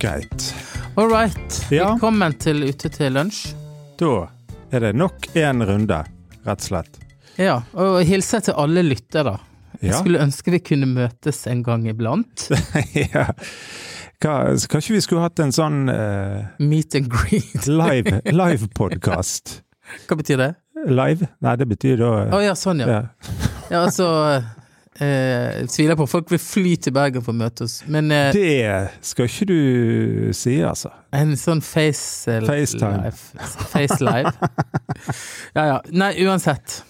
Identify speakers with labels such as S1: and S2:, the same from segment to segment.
S1: greit.
S2: All right.
S1: Ja.
S2: Velkommen til Ute til lunsj.
S1: Da er det nok en runde, rett og slett.
S2: Ja, og hilser til alle lyttere. Jeg
S1: Ja.
S2: skulle ønske vi kunne møtes en gang iblant.
S1: ja. Hva, kanskje vi skulle hatt en sånn eh,
S2: Meet and greet.
S1: live, live podcast?
S2: Hva betyr det?
S1: Live? Nei, det betyr da
S2: Å ja, sånn ja.
S1: ja.
S2: ja altså, eh, tviler på folk vil fly til Bergen for å møte oss. Men eh,
S1: Det skal ikke du si, altså.
S2: en sånn face eh,
S1: FaceTime.
S2: live. Face live. ja ja. Nei, uansett.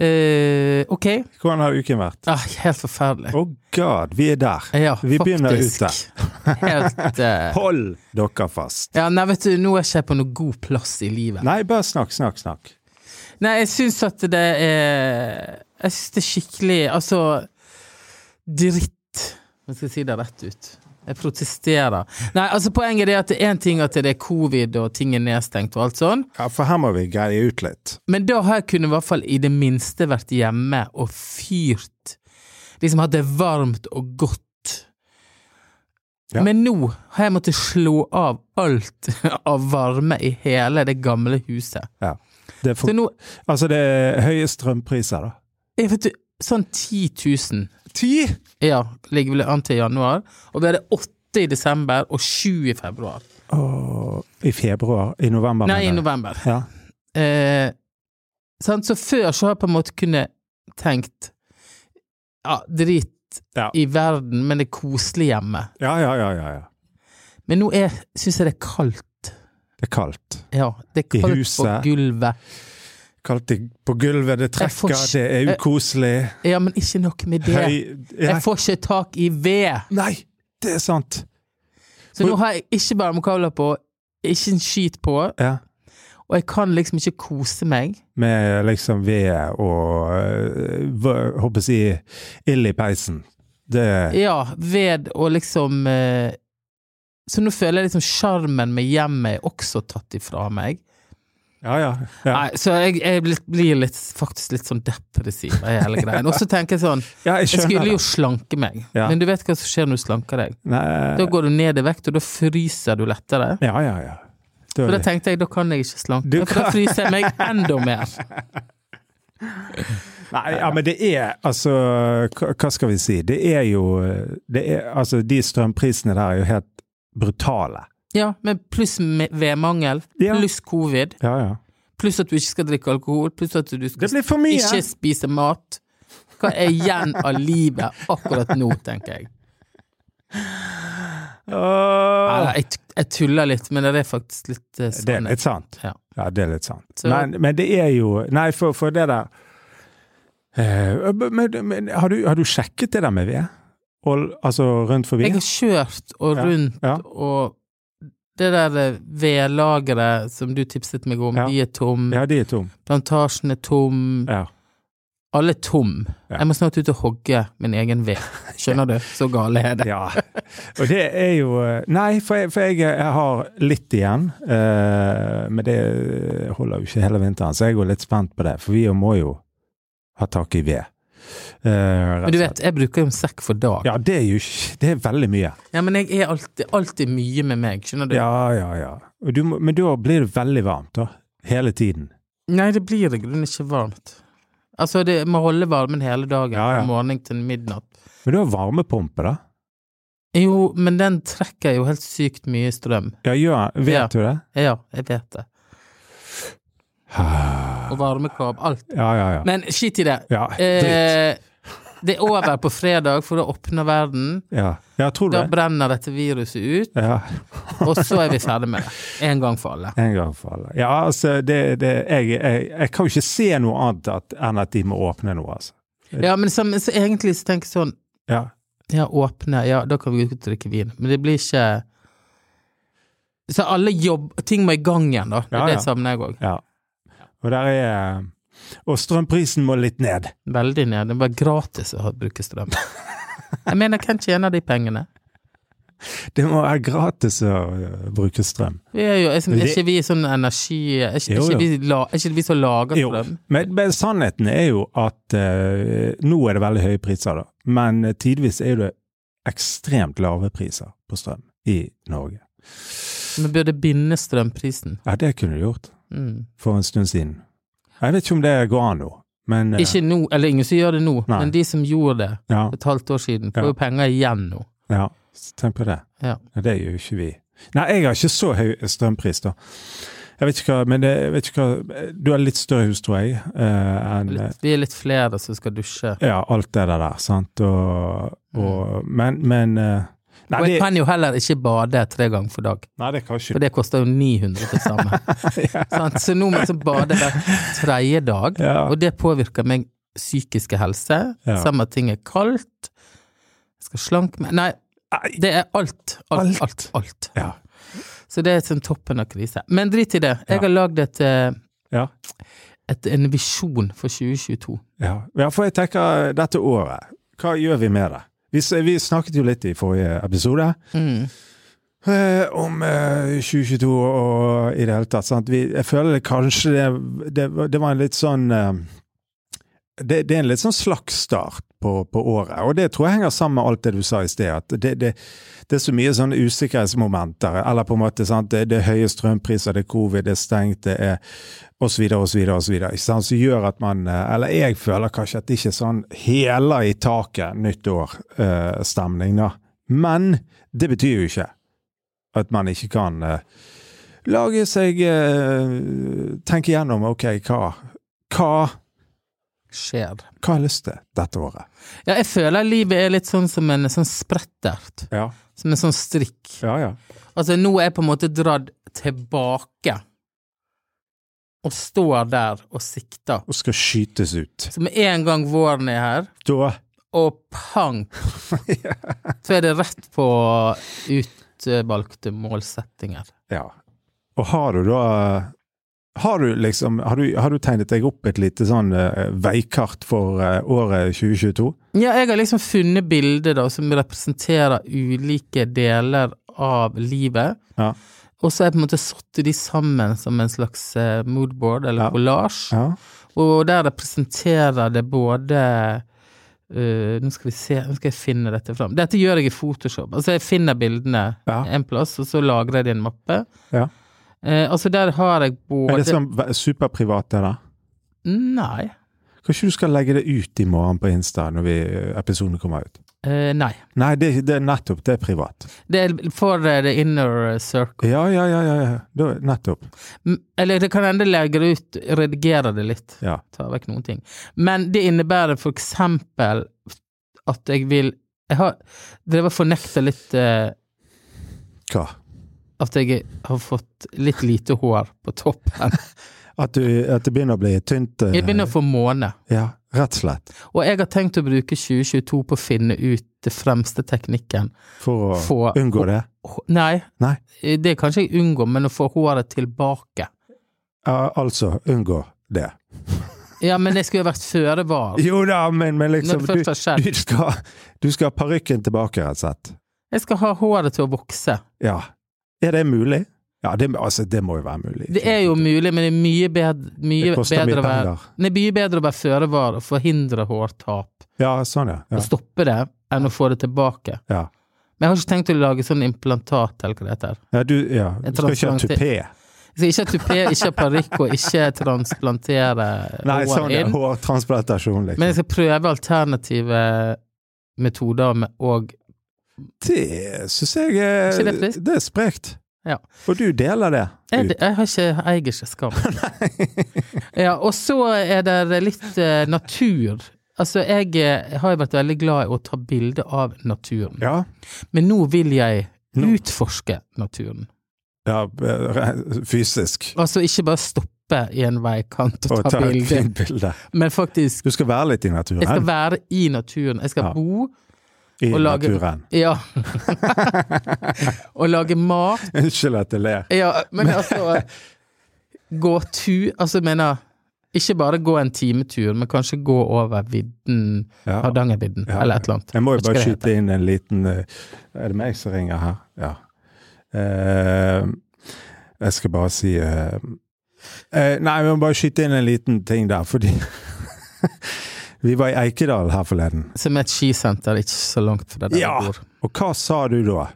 S2: Eh, ok.
S1: Hvordan har uken vært?
S2: Ah, helt forferdelig.
S1: Å god, vi er der.
S2: Ja,
S1: vi begynner ute.
S2: faktisk. Helt eh,
S1: Hold dere fast.
S2: Ja, nei, vet du, nå er ikke jeg på noen god plass i livet. Nei,
S1: Nei, bare snakk, snakk, snakk.
S2: jeg syns at det er Jeg syns det er skikkelig Altså, dritt. Jeg skal si det rett ut. Jeg protesterer. Nei, altså poenget er at det er én ting at det er covid og ting er nedstengt og alt sånn,
S1: Ja, for her må vi greie ut litt.
S2: men da har jeg kunnet i hvert fall i det minste vært hjemme og fyrt. Liksom hatt det varmt og godt.
S1: Ja.
S2: Men nå har jeg måttet slå av alt av varme i hele det gamle huset.
S1: Ja. Det er
S2: Så
S1: for,
S2: nå
S1: altså, det er høye strømpriser, da.
S2: Jeg vet du, sånn 10 000
S1: Ti?
S2: ja, ligger vel an til januar. Og vi hadde 8 i desember og 7 i februar.
S1: Åh, I februar? I november?
S2: Nei, i
S1: mener jeg.
S2: november.
S1: Ja.
S2: Eh, sant? Så før så har jeg på en måte kunnet tenkt ja, drit
S1: Ja.
S2: i verden, men det er koselig hjemme.
S1: ja, ja, ja, ja. ja.
S2: Men nå syns jeg det er kaldt.
S1: Det er kaldt.
S2: Ja, det er
S1: I
S2: kaldt på
S1: huset.
S2: gulvet.
S1: Kaldt i- på gulvet, det
S2: Jeg får
S1: trekker,
S2: ikke-
S1: det er ukoselig.
S2: Ja, men ikke noe med det.
S1: Høy ja.
S2: Jeg får ikke tak i ved.
S1: Nei, det er sant!
S2: Så nå har jeg ikke varmekabler på, ikke en skit på,
S1: Ja.
S2: og jeg kan liksom ikke kose meg.
S1: Med liksom ved og øh, hva- Håper jeg si ild i peisen. Det
S2: Ja, ved og liksom eh, Så nå føler jeg liksom sjarmen med hjemmet er også tatt ifra meg.
S1: Ja, ja. ja.
S2: Nei, så jeg, jeg blir- blir litt, faktisk litt sånn depressiv av hele greien. Og så tenker jeg sånn
S1: ja jeg
S2: Jeg
S1: skjønner.
S2: skulle jo
S1: det.
S2: slanke meg,
S1: Ja.
S2: men du vet hva som skjer når du slanker deg. Da
S1: Nei,
S2: går du ned i vekt, og da fryser du lettere.
S1: ja, ja, ja. Da-
S2: Og da tenkte jeg da kan jeg ikke slanke
S1: Du
S2: meg, for da
S1: kan-
S2: fryser jeg meg enda mer.
S1: Nei, ja, men det er altså Hva hva skal vi si? Det er jo det er, Altså, de strømprisene der er jo helt brutale.
S2: Ja, men pluss me- vedmangel,
S1: Ja.
S2: pluss covid,
S1: Ja, ja.
S2: pluss at du ikke skal drikke alkohol, pluss at du skal
S1: Det blir for mye!
S2: Ikke spise mat. Hva er igjen av livet akkurat nå, tenker jeg.
S1: Åh.
S2: Nei, Jeg, t- jeg tuller litt, men det er faktisk litt eh,
S1: Det er
S2: sånn.
S1: litt sant.
S2: Ja.
S1: Ja, det er litt sant.
S2: Så-
S1: men, men det er jo Nei, for, for det der Eh, men, men har, du, har du sjekket det der med ved? Og, altså rundt forbi?
S2: Jeg har kjørt og
S1: Ja,
S2: rundt
S1: ja.
S2: og det der eh, vedlageret som du tipset meg om,
S1: Ja.
S2: de er tom,
S1: Ja, de er tom.
S2: plantasjen er tom,
S1: Ja.
S2: alle er tom.
S1: Ja.
S2: Jeg må snart ut og hogge min egen ved. Skjønner du? Så gale er det.
S1: Ja. Og det er jo eh, Nei, for jeg, for jeg, jeg har litt igjen. eh, men det holder jo ikke hele vinteren, så jeg er jo litt spent på det. For vi må jo ha tak i ved. Eh, rett og
S2: Men du
S1: slett.
S2: vet, jeg bruker jo en sekk for dag. Ja,
S1: Ja, det er jo ikke Det er veldig mye.
S2: men jeg er alltid, alltid mye med meg, skjønner du?
S1: Ja, ja, ja. Og du, må- men da blir det veldig varmt, da. Hele tiden.
S2: Nei, det blir i grunnen ikke varmt. Altså, det må holde varmen hele dagen,
S1: Ja, ja.
S2: fra morgen til midnatt.
S1: Men du har varmepumpe, da?
S2: Jo, men den trekker jo helt sykt mye strøm.
S1: Ja, gjør Vet
S2: Ja.
S1: du det?
S2: Ja, jeg vet det. Og varmekab, alt.
S1: Ja, ja, ja.
S2: Men skitt i det.
S1: Ja, dritt.
S2: Eh, det er over på fredag, for da åpner verden.
S1: Ja, ja tror du
S2: Da
S1: det?
S2: brenner dette viruset ut,
S1: Ja.
S2: og så er vi ferdig med det. En gang for alle.
S1: En gang for alle. Ja, altså, det, det, jeg, jeg, jeg kan jo ikke se noe annet at, enn at de må åpne nå, altså.
S2: Ja, men så, men så egentlig så tenker jeg sånn
S1: Ja.
S2: Ja, åpne, ja, da kan vi gå ut og drikke vin. Men det blir ikke Så alle jobb... Ting må i gang igjen, da. Det er
S1: Ja, ja.
S2: det savner jeg òg.
S1: ja. Og der er Og strømprisen må litt ned.
S2: Veldig ned. Det er bare gratis å ha- bruke strøm. Jeg mener, hvem tjener de pengene?
S1: Det må være gratis å øh, bruke strøm.
S2: Vi er jo, er som- er
S1: Det-
S2: ikke vi sånn energi... Er ikke, er
S1: Jo,
S2: ikke
S1: jo.
S2: vi, la, er ikke vi som lager
S1: Jo,
S2: strøm?
S1: men, men sannheten er jo at øh, nå eh, er det veldig høye priser, da. Men tidvis er det ekstremt lave priser på strøm. i Norge.
S2: Men burde binde strømprisen.
S1: Ja, det kunne du gjort
S2: Mm.
S1: for en stund siden. Jeg vet ikke om det går an nå, men eh,
S2: Ikke nå, eller ingen som gjør det nå,
S1: Nei.
S2: men de som gjorde det
S1: ja,
S2: for et halvt år siden, får
S1: Ja.
S2: jo penger igjen nå.
S1: ja, tenk på det.
S2: Ja.
S1: Det gjør jo ikke vi. Nei, jeg har ikke så høy strømpris, da. Jeg vet ikke hva, men det, jeg vet ikke hva Du har litt større hus, tror jeg, eh, enn eh,
S2: Litt, vi er litt flere som skal dusje.
S1: ja, alt det der, sant, og, og Men, men eh, nei,
S2: Mm. Og jeg
S1: det,
S2: kan jo heller ikke bade tre ganger for dag,
S1: nei, det kan ikke
S2: for det koster jo 900 til sammen. Sant? Så nå må jeg så bade hver tredje dag,
S1: Ja.
S2: og det påvirker meg psykiske helse.
S1: Ja.
S2: Samme ting er kaldt. Jeg skal slanke meg Nei,
S1: Nei,
S2: det er alt.
S1: Alt.
S2: Alt, alt. alt.
S1: Ja.
S2: Så det er som toppen av krise. Men drit i det.
S1: Ja.
S2: Jeg har lagd et, eh,
S1: Ja.
S2: et, en visjon for 2022.
S1: Ja. ja, for jeg tenker dette året, hva gjør vi med det? Vi, s- vi snakket jo litt i forrige episode
S2: Mm.
S1: eh, om eh, 2022 og i det hele tatt. Sant? Vi, jeg føler det kanskje det, det, det var en litt sånn eh, det, det er en litt sånn slags start på, på året, og det tror jeg henger sammen med alt det du sa i sted. at det, det, det er så mye sånne usikkerhetsmomenter. Eller på en måte, sant? Det, det er høye strømpriser, det er covid, det er stengt, det er osv. osv. osv. Som gjør at man eh, Eller jeg føler kanskje at det ikke er sånn hela i taket nyttår-stemning, da. Men det betyr jo ikke at man ikke kan eh, lage seg eh, Tenke gjennom OK, hva, hva,
S2: Skjer.
S1: hva har jeg lyst til dette året?
S2: Ja, jeg føler livet er litt sånn som en sånn sprettert.
S1: Ja,
S2: Som en sånn strikk.
S1: ja. ja.
S2: Altså, nå er jeg på en måte dratt tilbake. Og står der og sikter.
S1: Og skal skytes ut.
S2: Så med en gang våren er her,
S1: Da
S2: og pang, så er det rett på utvalgte målsettinger.
S1: Ja. Og har du da har du, liksom, har, du, har du tegnet deg opp et lite sånn eh, veikart for eh, året 2022?
S2: Ja, jeg har liksom funnet bilder da, som representerer ulike deler av livet.
S1: Ja.
S2: Og så har jeg på en måte satt de sammen som en slags eh, moodboard eller
S1: Ja.
S2: kollasj.
S1: Ja.
S2: Og der representerer det både eh, Nå skal vi se, nå skal jeg finne dette fram. Dette gjør jeg i Photoshop. Altså, jeg finner bildene
S1: Ja.
S2: en plass, og så lagrer jeg det i en mappe.
S1: Ja.
S2: Eh, altså, der har jeg
S1: Er
S2: både
S1: det sånn ve- superprivat, det der?
S2: Nei.
S1: Kanskje du skal legge det ut i morgen på Insta når vi, episoden kommer ut?
S2: Eh, nei.
S1: Nei, det, det er nettopp. Det er privat.
S2: Det er for eh, the inner circle.
S1: Ja, ja, ja. ja, ja. Da, nettopp.
S2: Mm, Eller det kan hende legge det ut, redigere det litt,
S1: Ja.
S2: ta vekk noen ting. Men det innebærer for eksempel at jeg vil Jeg har drevet og fornekta litt eh,
S1: Hva?
S2: at jeg har fått litt lite hår på toppen.
S1: At, du, at det begynner å bli tynt? eh,
S2: Jeg begynner å få måne.
S1: Ja, rett og slett.
S2: Og jeg har tenkt å bruke 2022 på å finne ut det fremste teknikken.
S1: For å
S2: Få
S1: unngå det.
S2: H- Nei,
S1: Nei.
S2: det kan ikke jeg unngå, men å få håret tilbake.
S1: Ja, altså, unngå det.
S2: Ja, men jeg skulle jo vært føre var.
S1: Jo da, men, men
S2: Når
S1: liksom
S2: det
S1: du,
S2: først har skjedd.
S1: Du skal, du skal ha parykken tilbake, rett og slett.
S2: Jeg skal ha håret til å vokse.
S1: Ja. Er det mulig? Ja, det, altså, det må jo være mulig.
S2: Det er jo mulig, men det er mye bedre, mye
S1: Det koster
S2: bedre
S1: mye
S2: å være
S1: penger.
S2: Det er mye bedre å være føre var og forhindre hårtap
S1: Ja, sånn, ja.
S2: og
S1: ja.
S2: stoppe det, enn å få det tilbake.
S1: ja.
S2: Men jeg har ikke tenkt å lage sånn implantat, eller hva det heter.
S1: ja, du, ja.
S2: En
S1: du skal ikke ha
S2: transplant-
S1: tupé.
S2: Jeg skal ikke ha tupé, ikke ha parykk og ikke transplantere
S1: Nei,
S2: hår
S1: sånn, ja.
S2: inn.
S1: Hårtransplantasjon, liksom.
S2: Men jeg skal prøve alternative metoder med, og
S1: det syns jeg
S2: Ikke
S1: er,
S2: det friskt?
S1: det er sprekt.
S2: Ja.
S1: Og du deler det.
S2: jeg,
S1: ut.
S2: jeg har ikke, jeg eier ikke skam. Ja, og så er det litt eh, natur. Altså, jeg eh, har jo vært veldig glad i å ta bilde av naturen.
S1: Ja.
S2: Men nå vil jeg
S1: Nå.
S2: utforske naturen.
S1: ja. re- Fysisk.
S2: Altså ikke bare stoppe i en veikant og
S1: Og
S2: ta
S1: ta et
S2: bilder,
S1: fint bilde.
S2: men faktisk
S1: Du skal være litt i naturen.
S2: jeg skal være i naturen. Jeg skal
S1: Ja.
S2: bo
S1: I
S2: og lage-
S1: naturen.
S2: Ja. og lage mat.
S1: Unnskyld at jeg ler.
S2: Ja, men altså Gå tur. Altså, jeg mener Ikke bare gå en timetur, men kanskje gå over vidden,
S1: Ja.
S2: Hardangervidden,
S1: Ja.
S2: eller et eller annet.
S1: Jeg må jo
S2: Vet
S1: bare
S2: ikke hva det
S1: skyte inn en liten eh, Er det meg som ringer her? Ja. Eh, jeg skal bare si eh, eh, Nei, vi må bare skyte inn en liten ting der, fordi Vi var i Eikedal her forleden,
S2: heter. Som er et skisenter ikke så langt fra der
S1: Ja.
S2: jeg bor.
S1: og hva sa du da?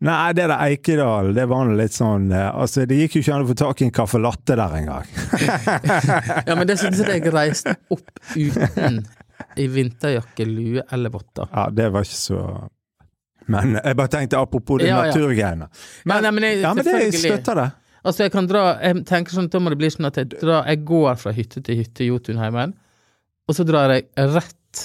S1: Nei, det der Eikedal, det var nå litt sånn eh, Altså, det gikk jo ikke an å få tak i en caffè latte der engang.
S2: Ja, men det synes jeg jeg reiste opp uten i vinterjakke, lue eller votter.
S1: Ja, det var ikke så Men jeg bare tenkte apropos det
S2: Ja, ja.
S1: naturgreiene.
S2: Men, nei, men, jeg,
S1: Ja, men det, jeg
S2: selvfølgelig.
S1: støtter det.
S2: Altså, jeg kan dra Jeg tenker sånn, da må det bli sånn at jeg, drar, jeg går fra hytte til hytte i Jotunheimen, og så drar jeg rett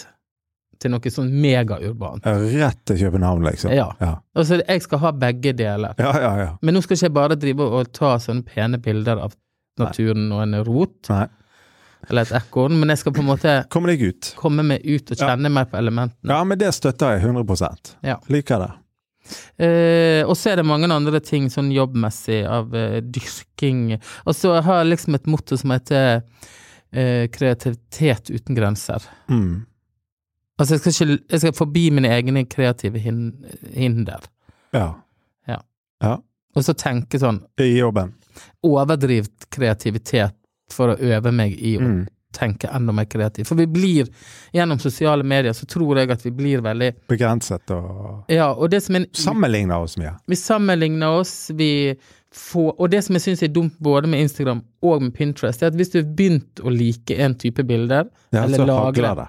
S2: til noe sånn megaurbant.
S1: Rett til København, liksom.
S2: Ja.
S1: Ja,
S2: Altså, jeg skal ha begge deler.
S1: ja, ja. ja.
S2: Men nå skal ikke jeg bare drive og ta sånne pene bilder av naturen og en rot
S1: Nei.
S2: eller et ekorn, men jeg skal på en måte
S1: Kom deg ut.
S2: komme meg ut og kjenne meg på elementene.
S1: Ja, men det støtter jeg 100
S2: Ja.
S1: Liker det.
S2: Eh, og så er det mange andre ting sånn jobbmessig av eh, dyrking. Og så har jeg liksom et motto som heter eh, kreativitet uten grenser.
S1: Mm.
S2: Altså, jeg skal, ikke, jeg skal forbi mine egne kreative hin hinder,
S1: Ja.
S2: og så tenke sånn
S1: I jobben.
S2: overdrivt kreativitet for å øve meg i å
S1: Mm.
S2: tenke enda mer kreativt. For vi blir, gjennom sosiale medier, så tror jeg at vi blir veldig
S1: Begrenset og
S2: Ja, og det som er
S1: Sammenligner oss mye.
S2: Vi sammenligner oss, vi får Og det som jeg syns er dumt både med Instagram og med Pinterest, er at hvis du har begynt å like en type bilder,
S1: Ja,
S2: eller
S1: så
S2: lagre,
S1: hagler det.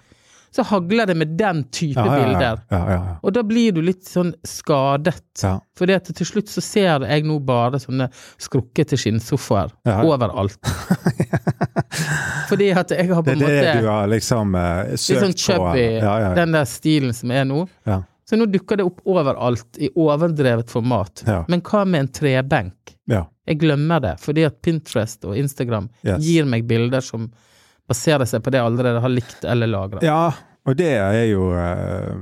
S2: så hagler det med den type
S1: Ja, ja, ja.
S2: bilder.
S1: ja, ja, ja.
S2: Og da blir du litt sånn skadet.
S1: Ja.
S2: For til slutt så ser jeg nå bare sånne skrukkete skinnsofaer
S1: Ja.
S2: overalt. Fordi at jeg har på
S1: Det
S2: en
S1: er det du
S2: måte
S1: har liksom eh,
S2: litt
S1: søkt
S2: sånn chubby,
S1: på. Ja, ja, ja.
S2: den der stilen som er nå.
S1: Ja.
S2: Så nå dukker det opp overalt i overdrevet format.
S1: Ja.
S2: Men hva med en trebenk?
S1: ja.
S2: Jeg glemmer det, fordi at Pinterest og Instagram
S1: Yes.
S2: gir meg bilder som baserer seg på det jeg allerede har likt eller lagra.
S1: Ja, og det er jo eh,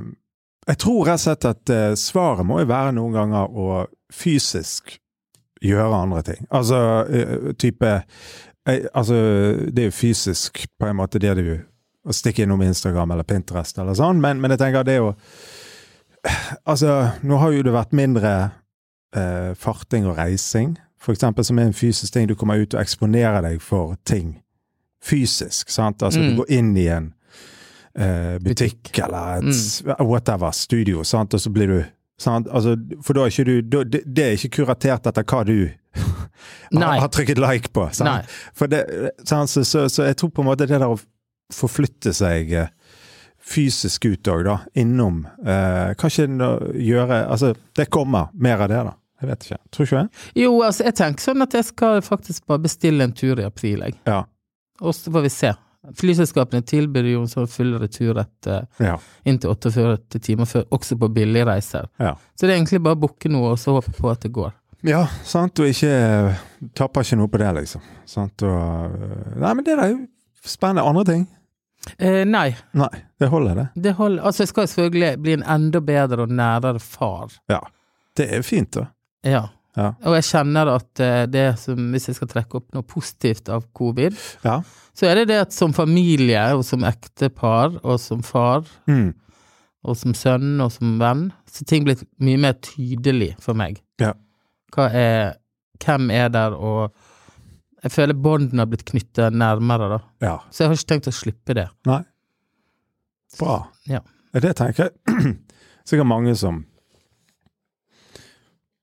S1: Jeg tror rett og slett at eh, svaret må jo være noen ganger å fysisk gjøre andre ting. Altså eh, type eh, Altså, det er jo fysisk på en måte det du Å stikke innom Instagram eller Pinterest eller sånn, men, men jeg tenker det er jo Altså, nå har jo det vært mindre eh, farting og reising, for eksempel, som er en fysisk ting. Du kommer ut og eksponerer deg for ting fysisk, sant? Altså,
S2: Mm.
S1: du går inn i en eh, butikk, eller
S2: Mm.
S1: et whatever, studio, sant? og så blir du sant? Altså, For da er ikke du da, det, det er ikke kuratert etter hva du
S2: Nei.
S1: har, har trykket like på.
S2: Nei.
S1: Sant? For det, sant? Så, så, så jeg tror på en måte det der å forflytte seg eh, fysisk ut òg, da. Innom. Eh, kanskje nå gjøre Altså, det kommer mer av det, da. Jeg vet ikke. Tror ikke jeg.
S2: Jo, altså, jeg tenker sånn at jeg skal faktisk bare bestille en tur i april, jeg.
S1: Ja.
S2: Og så får vi se. Flyselskapene tilbyr jo en sånn full returrett eh,
S1: Ja.
S2: inntil 48 timer før, også på billigreiser.
S1: Ja.
S2: Så det er egentlig bare å booke noe og så håpe på at det går.
S1: ja sant. Og ikke eh, Tapper ikke noe på det, liksom. Sant. Og eh, Nei, men det der er jo spennende. Andre ting?
S2: Eh, nei,
S1: Nei. Det holder, det.
S2: det holder. Altså, jeg skal selvfølgelig bli en enda bedre og nærere far.
S1: Ja. Det er fint, da.
S2: Ja.
S1: Ja.
S2: Og jeg kjenner at eh, det som, hvis jeg skal trekke opp noe positivt av covid,
S1: Ja.
S2: så er det det at som familie, og som ektepar, og som far,
S1: Mm.
S2: og som sønn, og som venn, så ting blitt mye mer tydelig for meg.
S1: Ja.
S2: Hva er Hvem er der, og Jeg føler båndene har blitt knytta nærmere, da.
S1: ja.
S2: Så jeg har ikke tenkt å slippe det.
S1: Nei. Bra.
S2: Ja.
S1: Det tenker jeg sikkert mange som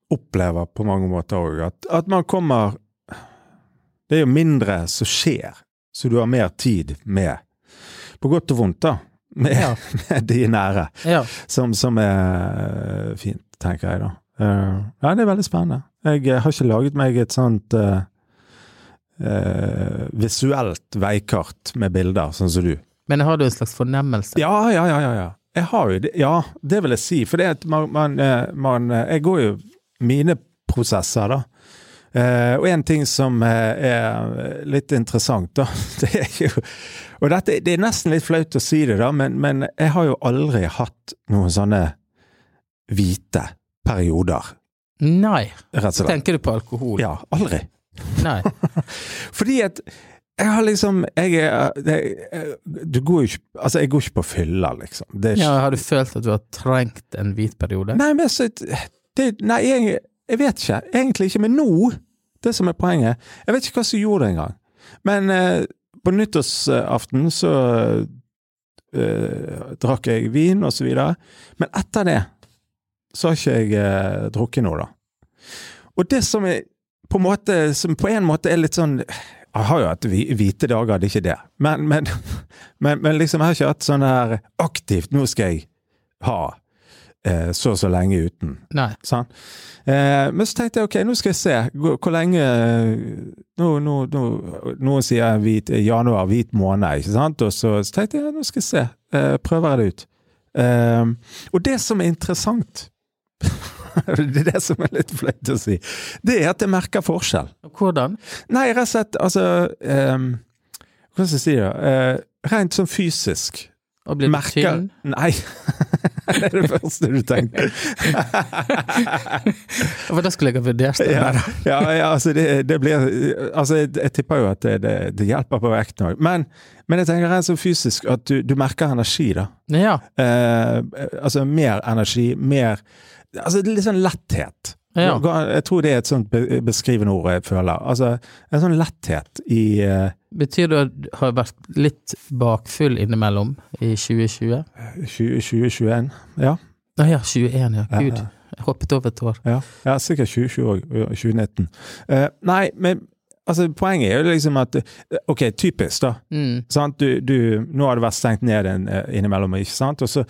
S1: opplever på mange måter òg, at, at man kommer Det er jo mindre som skjer, så du har mer tid med, på godt og vondt, da, med,
S2: Ja.
S1: med de nære,
S2: Ja.
S1: som, som er eh, fint, tenker jeg da. Eh, nei, det er veldig spennende. Jeg eh, har ikke laget meg et sånt eh, eh, visuelt veikart med bilder, sånn som du.
S2: Men har du en slags fornemmelse?
S1: Ja, ja, ja. ja, ja. Jeg har jo det. Ja, det vil jeg si. For det at man, man, eh, man eh, Jeg går jo mine prosesser, da. Eh, og en ting som eh, er litt interessant, da, det er jo Og dette, det er nesten litt flaut å si det, da, men, men jeg har jo aldri hatt noen sånne hvite perioder,
S2: Nei.
S1: rett og slett.
S2: Tenker du på alkohol?
S1: Ja, aldri.
S2: Nei.
S1: Fordi at jeg har liksom jeg, er- jeg, jeg, Du går jo ikke Altså, jeg går ikke på fylla, liksom. Det er ikke,
S2: Ja, har du følt at du har trengt en hvit periode?
S1: Nei, men så, det, nei jeg, jeg vet ikke. Egentlig ikke. Men nå, det som er poenget Jeg vet ikke hva som gjorde det engang. Men eh, på nyttårsaften så eh, drakk jeg vin, og så videre. Men etter det så har ikke jeg eh, drukket noe, da. Og det som er på en måte, som på en måte er litt sånn Jeg har jo hatt hvi- hvite dager, det er ikke det. Men, men, men, men liksom, jeg har ikke hatt sånn her aktivt Nå skal jeg ha eh, så og så lenge uten.
S2: Nei.
S1: Sant? Eh, men så tenkte jeg ok, nå skal jeg se hvor, hvor lenge nå, nå, nå, nå sier jeg hvit, januar, hvit måned, ikke sant? Og så, så tenkte jeg ja, nå skal jeg se. Eh, prøver jeg det ut. Eh, og det som er interessant Det er det som er litt flaut å si. Det er at jeg merker forskjell.
S2: Hvordan?
S1: Nei, rett og slett, altså eh, Hva skal jeg si, da? Eh, rent sånn fysisk
S2: Å bli litt tynn?
S1: Nei. det er det første du tenker.
S2: For det skulle jeg ha vurdert. det.
S1: Ja, ja, ja altså, det, det blir Altså, jeg, jeg tipper jo at det, det, det hjelper på vekten òg. Men, men jeg tenker rent sånn fysisk at du, du merker energi, da.
S2: Ja.
S1: Eh, altså mer energi, mer Altså litt sånn letthet.
S2: Ja.
S1: Jeg tror det er et sånt be- beskrivende ord jeg føler. Altså en sånn letthet i eh,
S2: Betyr det at du har vært litt bakfull innimellom i 2020?
S1: 20 2021. Ja.
S2: Nei, ja, 21, ja.
S1: Ja,
S2: Gud.
S1: ja.
S2: Jeg hoppet over et år.
S1: Ja, ja sikkert 2020 og 2019. Eh, nei, men altså, poenget er jo liksom at eh, Ok, typisk, da.
S2: Mm.
S1: Sant? Du, du, nå har det vært stengt ned en, eh, innimellom, ikke sant? Og så,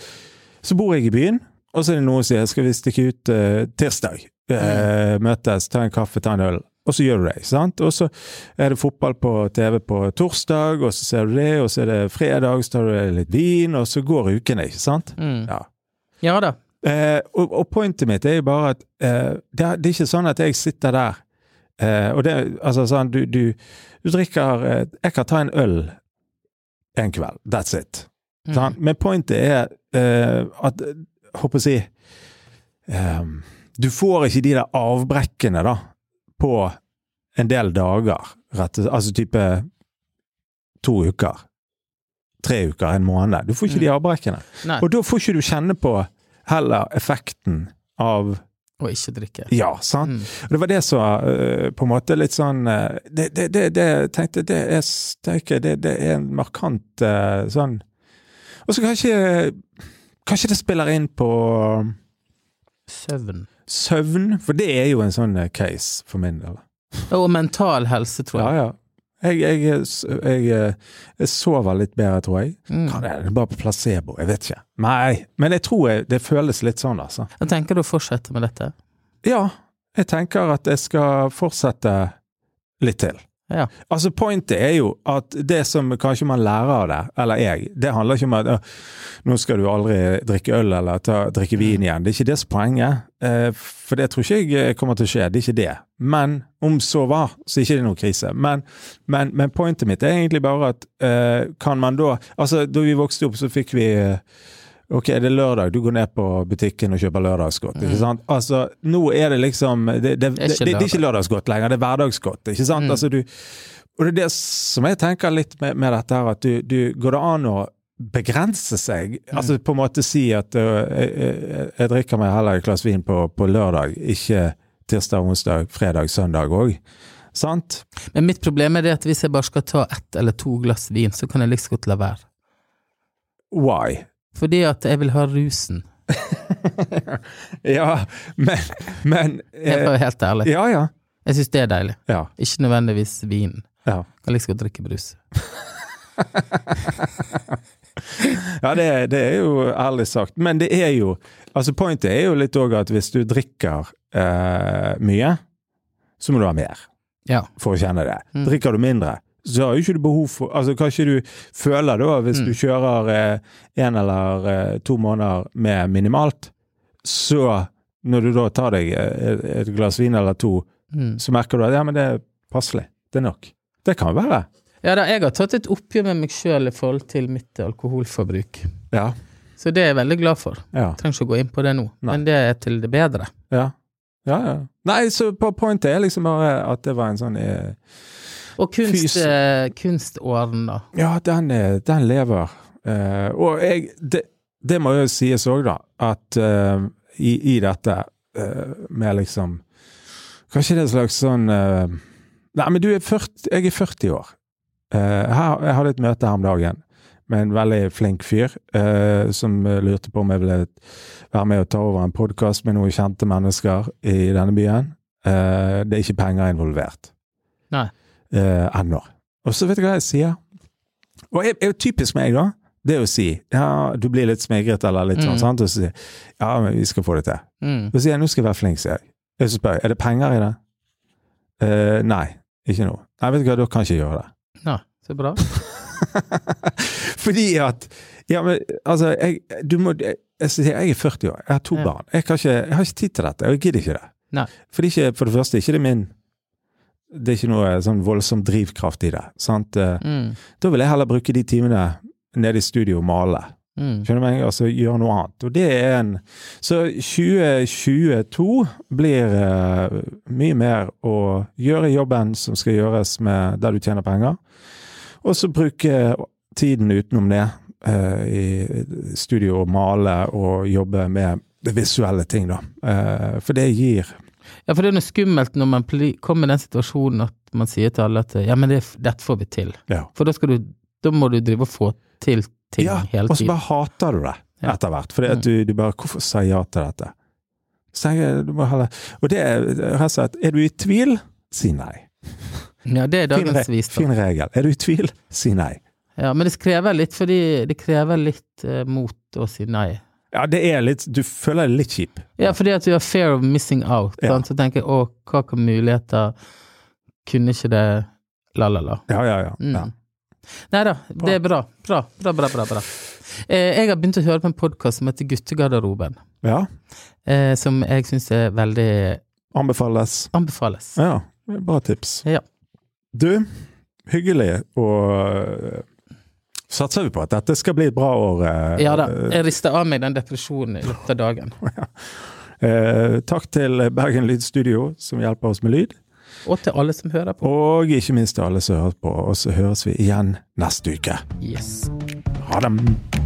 S1: så bor jeg i byen, og så er det noen som sier skal vi stikke ut eh, tirsdag? Eh, møtes, ta en kaffe, ta en øl. Og så gjør du det. ikke sant? Og så er det fotball på TV på torsdag, og så ser du det, og så er det fredag, så tar du litt vin, og så går ukene, ikke sant?
S2: Mm.
S1: Ja.
S2: Ja da.
S1: Eh, og, og pointet mitt er jo bare at eh, det, er, det er ikke sånn at jeg sitter der eh, og det, altså sånn, du, du, du drikker eh, Jeg kan ta en øl en kveld. That's it.
S2: Mm.
S1: Sant? Men pointet er eh, at eh, Håper å si eh, Du får ikke de der avbrekkene, da, på en del dager. Rett, og- altså type to uker. Tre uker, en måned. Du får ikke
S2: Mm.
S1: de avbrekkene.
S2: Nei,
S1: Og da får ikke du kjenne på heller effekten av
S2: og ikke drikke.
S1: Ja, sant?
S2: Mm.
S1: Og det var det som eh, på en måte litt sånn eh, Det, det, det, det jeg tenkte det er, steike, det, det er en markant eh, sånn Og så kanskje Kanskje det spiller inn på um,
S2: Søvn.
S1: søvn, for det er jo en sånn eh, case for min del.
S2: Og mental helse, tror
S1: Ja,
S2: jeg.
S1: ja. Jeg, jeg, jeg, jeg, jeg sover litt bedre, tror jeg.
S2: Mm.
S1: Kan det det er bare på placebo? Jeg vet ikke. Nei, men jeg tror jeg, det føles litt sånn, altså.
S2: Jeg tenker du å fortsette med dette.
S1: Ja, jeg tenker at jeg skal fortsette litt til.
S2: Ja.
S1: Altså, pointet er jo at det som kanskje man lærer av det, eller jeg, det handler ikke om at «Åh, nå skal du aldri drikke øl eller ta, drikke
S2: Mm.
S1: vin igjen. Det er ikke det som er poenget, eh, for det tror ikke jeg eh, kommer til å skje. Det er ikke det. Men om så var, så er ikke det noen krise. Men, men, men pointet mitt er egentlig bare at eh, kan man da Altså, da vi vokste opp, så fikk vi eh, Ok, det er lørdag, du går ned på butikken og kjøper lørdagsgodt. Ikke sant? Altså, nå er det liksom Det, det, det,
S2: Mm. Det er
S1: det,
S2: ikke Mm.
S1: det er ikke lørdagsgodt lenger, det er hverdagsgodt. Ikke sant? Altså, du, og det er det som jeg tenker litt med, med dette her, at du, du går det an å begrense seg? Altså på en måte si at øh, jeg, jeg, jeg drikker meg heller et glass vin på, på lørdag, ikke tirsdag, onsdag, fredag, søndag òg. Sant?
S2: Men mitt problem er det at hvis jeg bare skal ta ett eller to glass vin, så kan jeg like så godt la være.
S1: Why?
S2: Fordi at jeg vil ha rusen.
S1: Ja, men, men
S2: Jeg
S1: eh,
S2: er helt ærlig.
S1: Ja, ja.
S2: Jeg syns det er deilig.
S1: Ja.
S2: Ikke nødvendigvis vin.
S1: ja.
S2: Jeg kan like så godt drikke brus.
S1: Ja, det, er- det er jo ærlig sagt. Men det er jo Altså, pointet er jo litt òg at hvis du drikker eh, mye, så må du ha mer
S2: Ja.
S1: for å kjenne det. Drikker du mindre, så har jo ikke du behov for Altså, kanskje du føler da, hvis du kjører eh, en eller eh, to måneder med minimalt, så når du da tar deg eh, et- et glass vin eller to,
S2: Mm.
S1: så merker du at ja, men det er passelig. Det er nok. Det kan være.
S2: Ja da, jeg har tatt et oppgjør med meg sjøl i forhold til mitt alkoholforbruk.
S1: Ja.
S2: Så det er jeg veldig glad for.
S1: Ja.
S2: Jeg trenger ikke å gå inn på det nå,
S1: Nei.
S2: men det er til det bedre.
S1: Ja. ja, ja. Nei, så på pointet er liksom bare at det var en sånn eh,
S2: Og kunst,
S1: Fys-
S2: eh, kunståren, da.
S1: Ja, den, eh, den lever. Eh, og jeg det, det må jo sies òg, da, at eh, i, i dette eh, med liksom Kanskje det er en slags sånn eh, Nei, men du er 40, jeg er 40 år. Eh, her, jeg hadde et møte her om dagen med en veldig flink fyr, eh, som lurte på om jeg ville være med og ta over en podkast med noen kjente mennesker i denne byen. Eh, det er ikke penger involvert.
S2: Nei.
S1: Eh, Ennå. Og så vet du hva jeg sier? Og det er jo typisk meg, da. Det å si ja, du blir litt smigret eller litt sånn,
S2: Mm.
S1: sant? og så sier jeg, ja, men vi skal få det til.
S2: Mm.
S1: Så sier jeg nå skal jeg være flink, sier jeg. Og så spør jeg er det penger i det. Eh, nei, ikke nå. Nei, vet du hva, da kan jeg ikke gjøre det.
S2: Ja, så bra.
S1: Fordi at Ja, men altså, jeg, du må jeg, jeg, sier, jeg er 40 år, jeg har to
S2: Ja.
S1: barn. Jeg, kan ikke, jeg har ikke tid til dette, og jeg gidder ikke det.
S2: Nei.
S1: For, det er ikke, for det første ikke det er min Det er ikke noe sånn voldsom drivkraft i det. Sant? Eh,
S2: Mm.
S1: Da vil jeg heller bruke de timene nede i studio og male.
S2: Mm.
S1: Skjønner du meg? Altså gjøre noe annet. Og det er en Så 2022 blir eh, mye mer å gjøre jobben som skal gjøres med der du tjener penger, og så bruke tiden utenom det eh, i studio og male og jobbe med det visuelle ting, da. Eh, for det gir
S2: Ja, for det er noe skummelt når man pli- kommer i den situasjonen at man sier til alle at ja, men det, dette får vi til.
S1: Ja.
S2: For da, skal du, da må du drive og få til ting
S1: Ja,
S2: hele
S1: og så
S2: tiden.
S1: bare hater du det
S2: Ja. Mm.
S1: etter hvert. Fordi at du, du bare Hvorfor sa jeg ja til dette? Så jeg, du må heller Og det er rett og slett Er du i tvil? Si nei.
S2: Ja, det er
S1: Fin,
S2: dagens
S1: re
S2: visdom.
S1: fin regel. Er du i tvil, si nei.
S2: Ja, men det krever litt, fordi det krever litt eh, mot å si nei.
S1: Ja, det er litt Du føler deg litt kjip.
S2: Ja, fordi at du har fear of missing out.
S1: Ja.
S2: Sant? Så tenker jeg å, hva kan muligheter Kunne ikke det La, la, la.
S1: Ja, ja, ja.
S2: Mm.
S1: ja.
S2: Nei da, det er bra. Bra, bra, bra. bra, bra. Eh, jeg har begynt å høre på en podkast som heter Guttegarderoben,
S1: ja.
S2: eh, som jeg syns er veldig
S1: Anbefales.
S2: Anbefales.
S1: Ja. Bra tips.
S2: Ja.
S1: Du, hyggelig og øh, Satser vi på at dette skal bli et bra år. øh,
S2: Ja da, jeg rister av meg den depresjonen i løpet av dagen.
S1: øh, takk til Bergen Lydstudio, som hjelper oss med lyd.
S2: Og til alle som hører på.
S1: Og ikke minst til alle som hører på. Og så høres vi igjen neste uke.
S2: Yes.
S1: Ha det!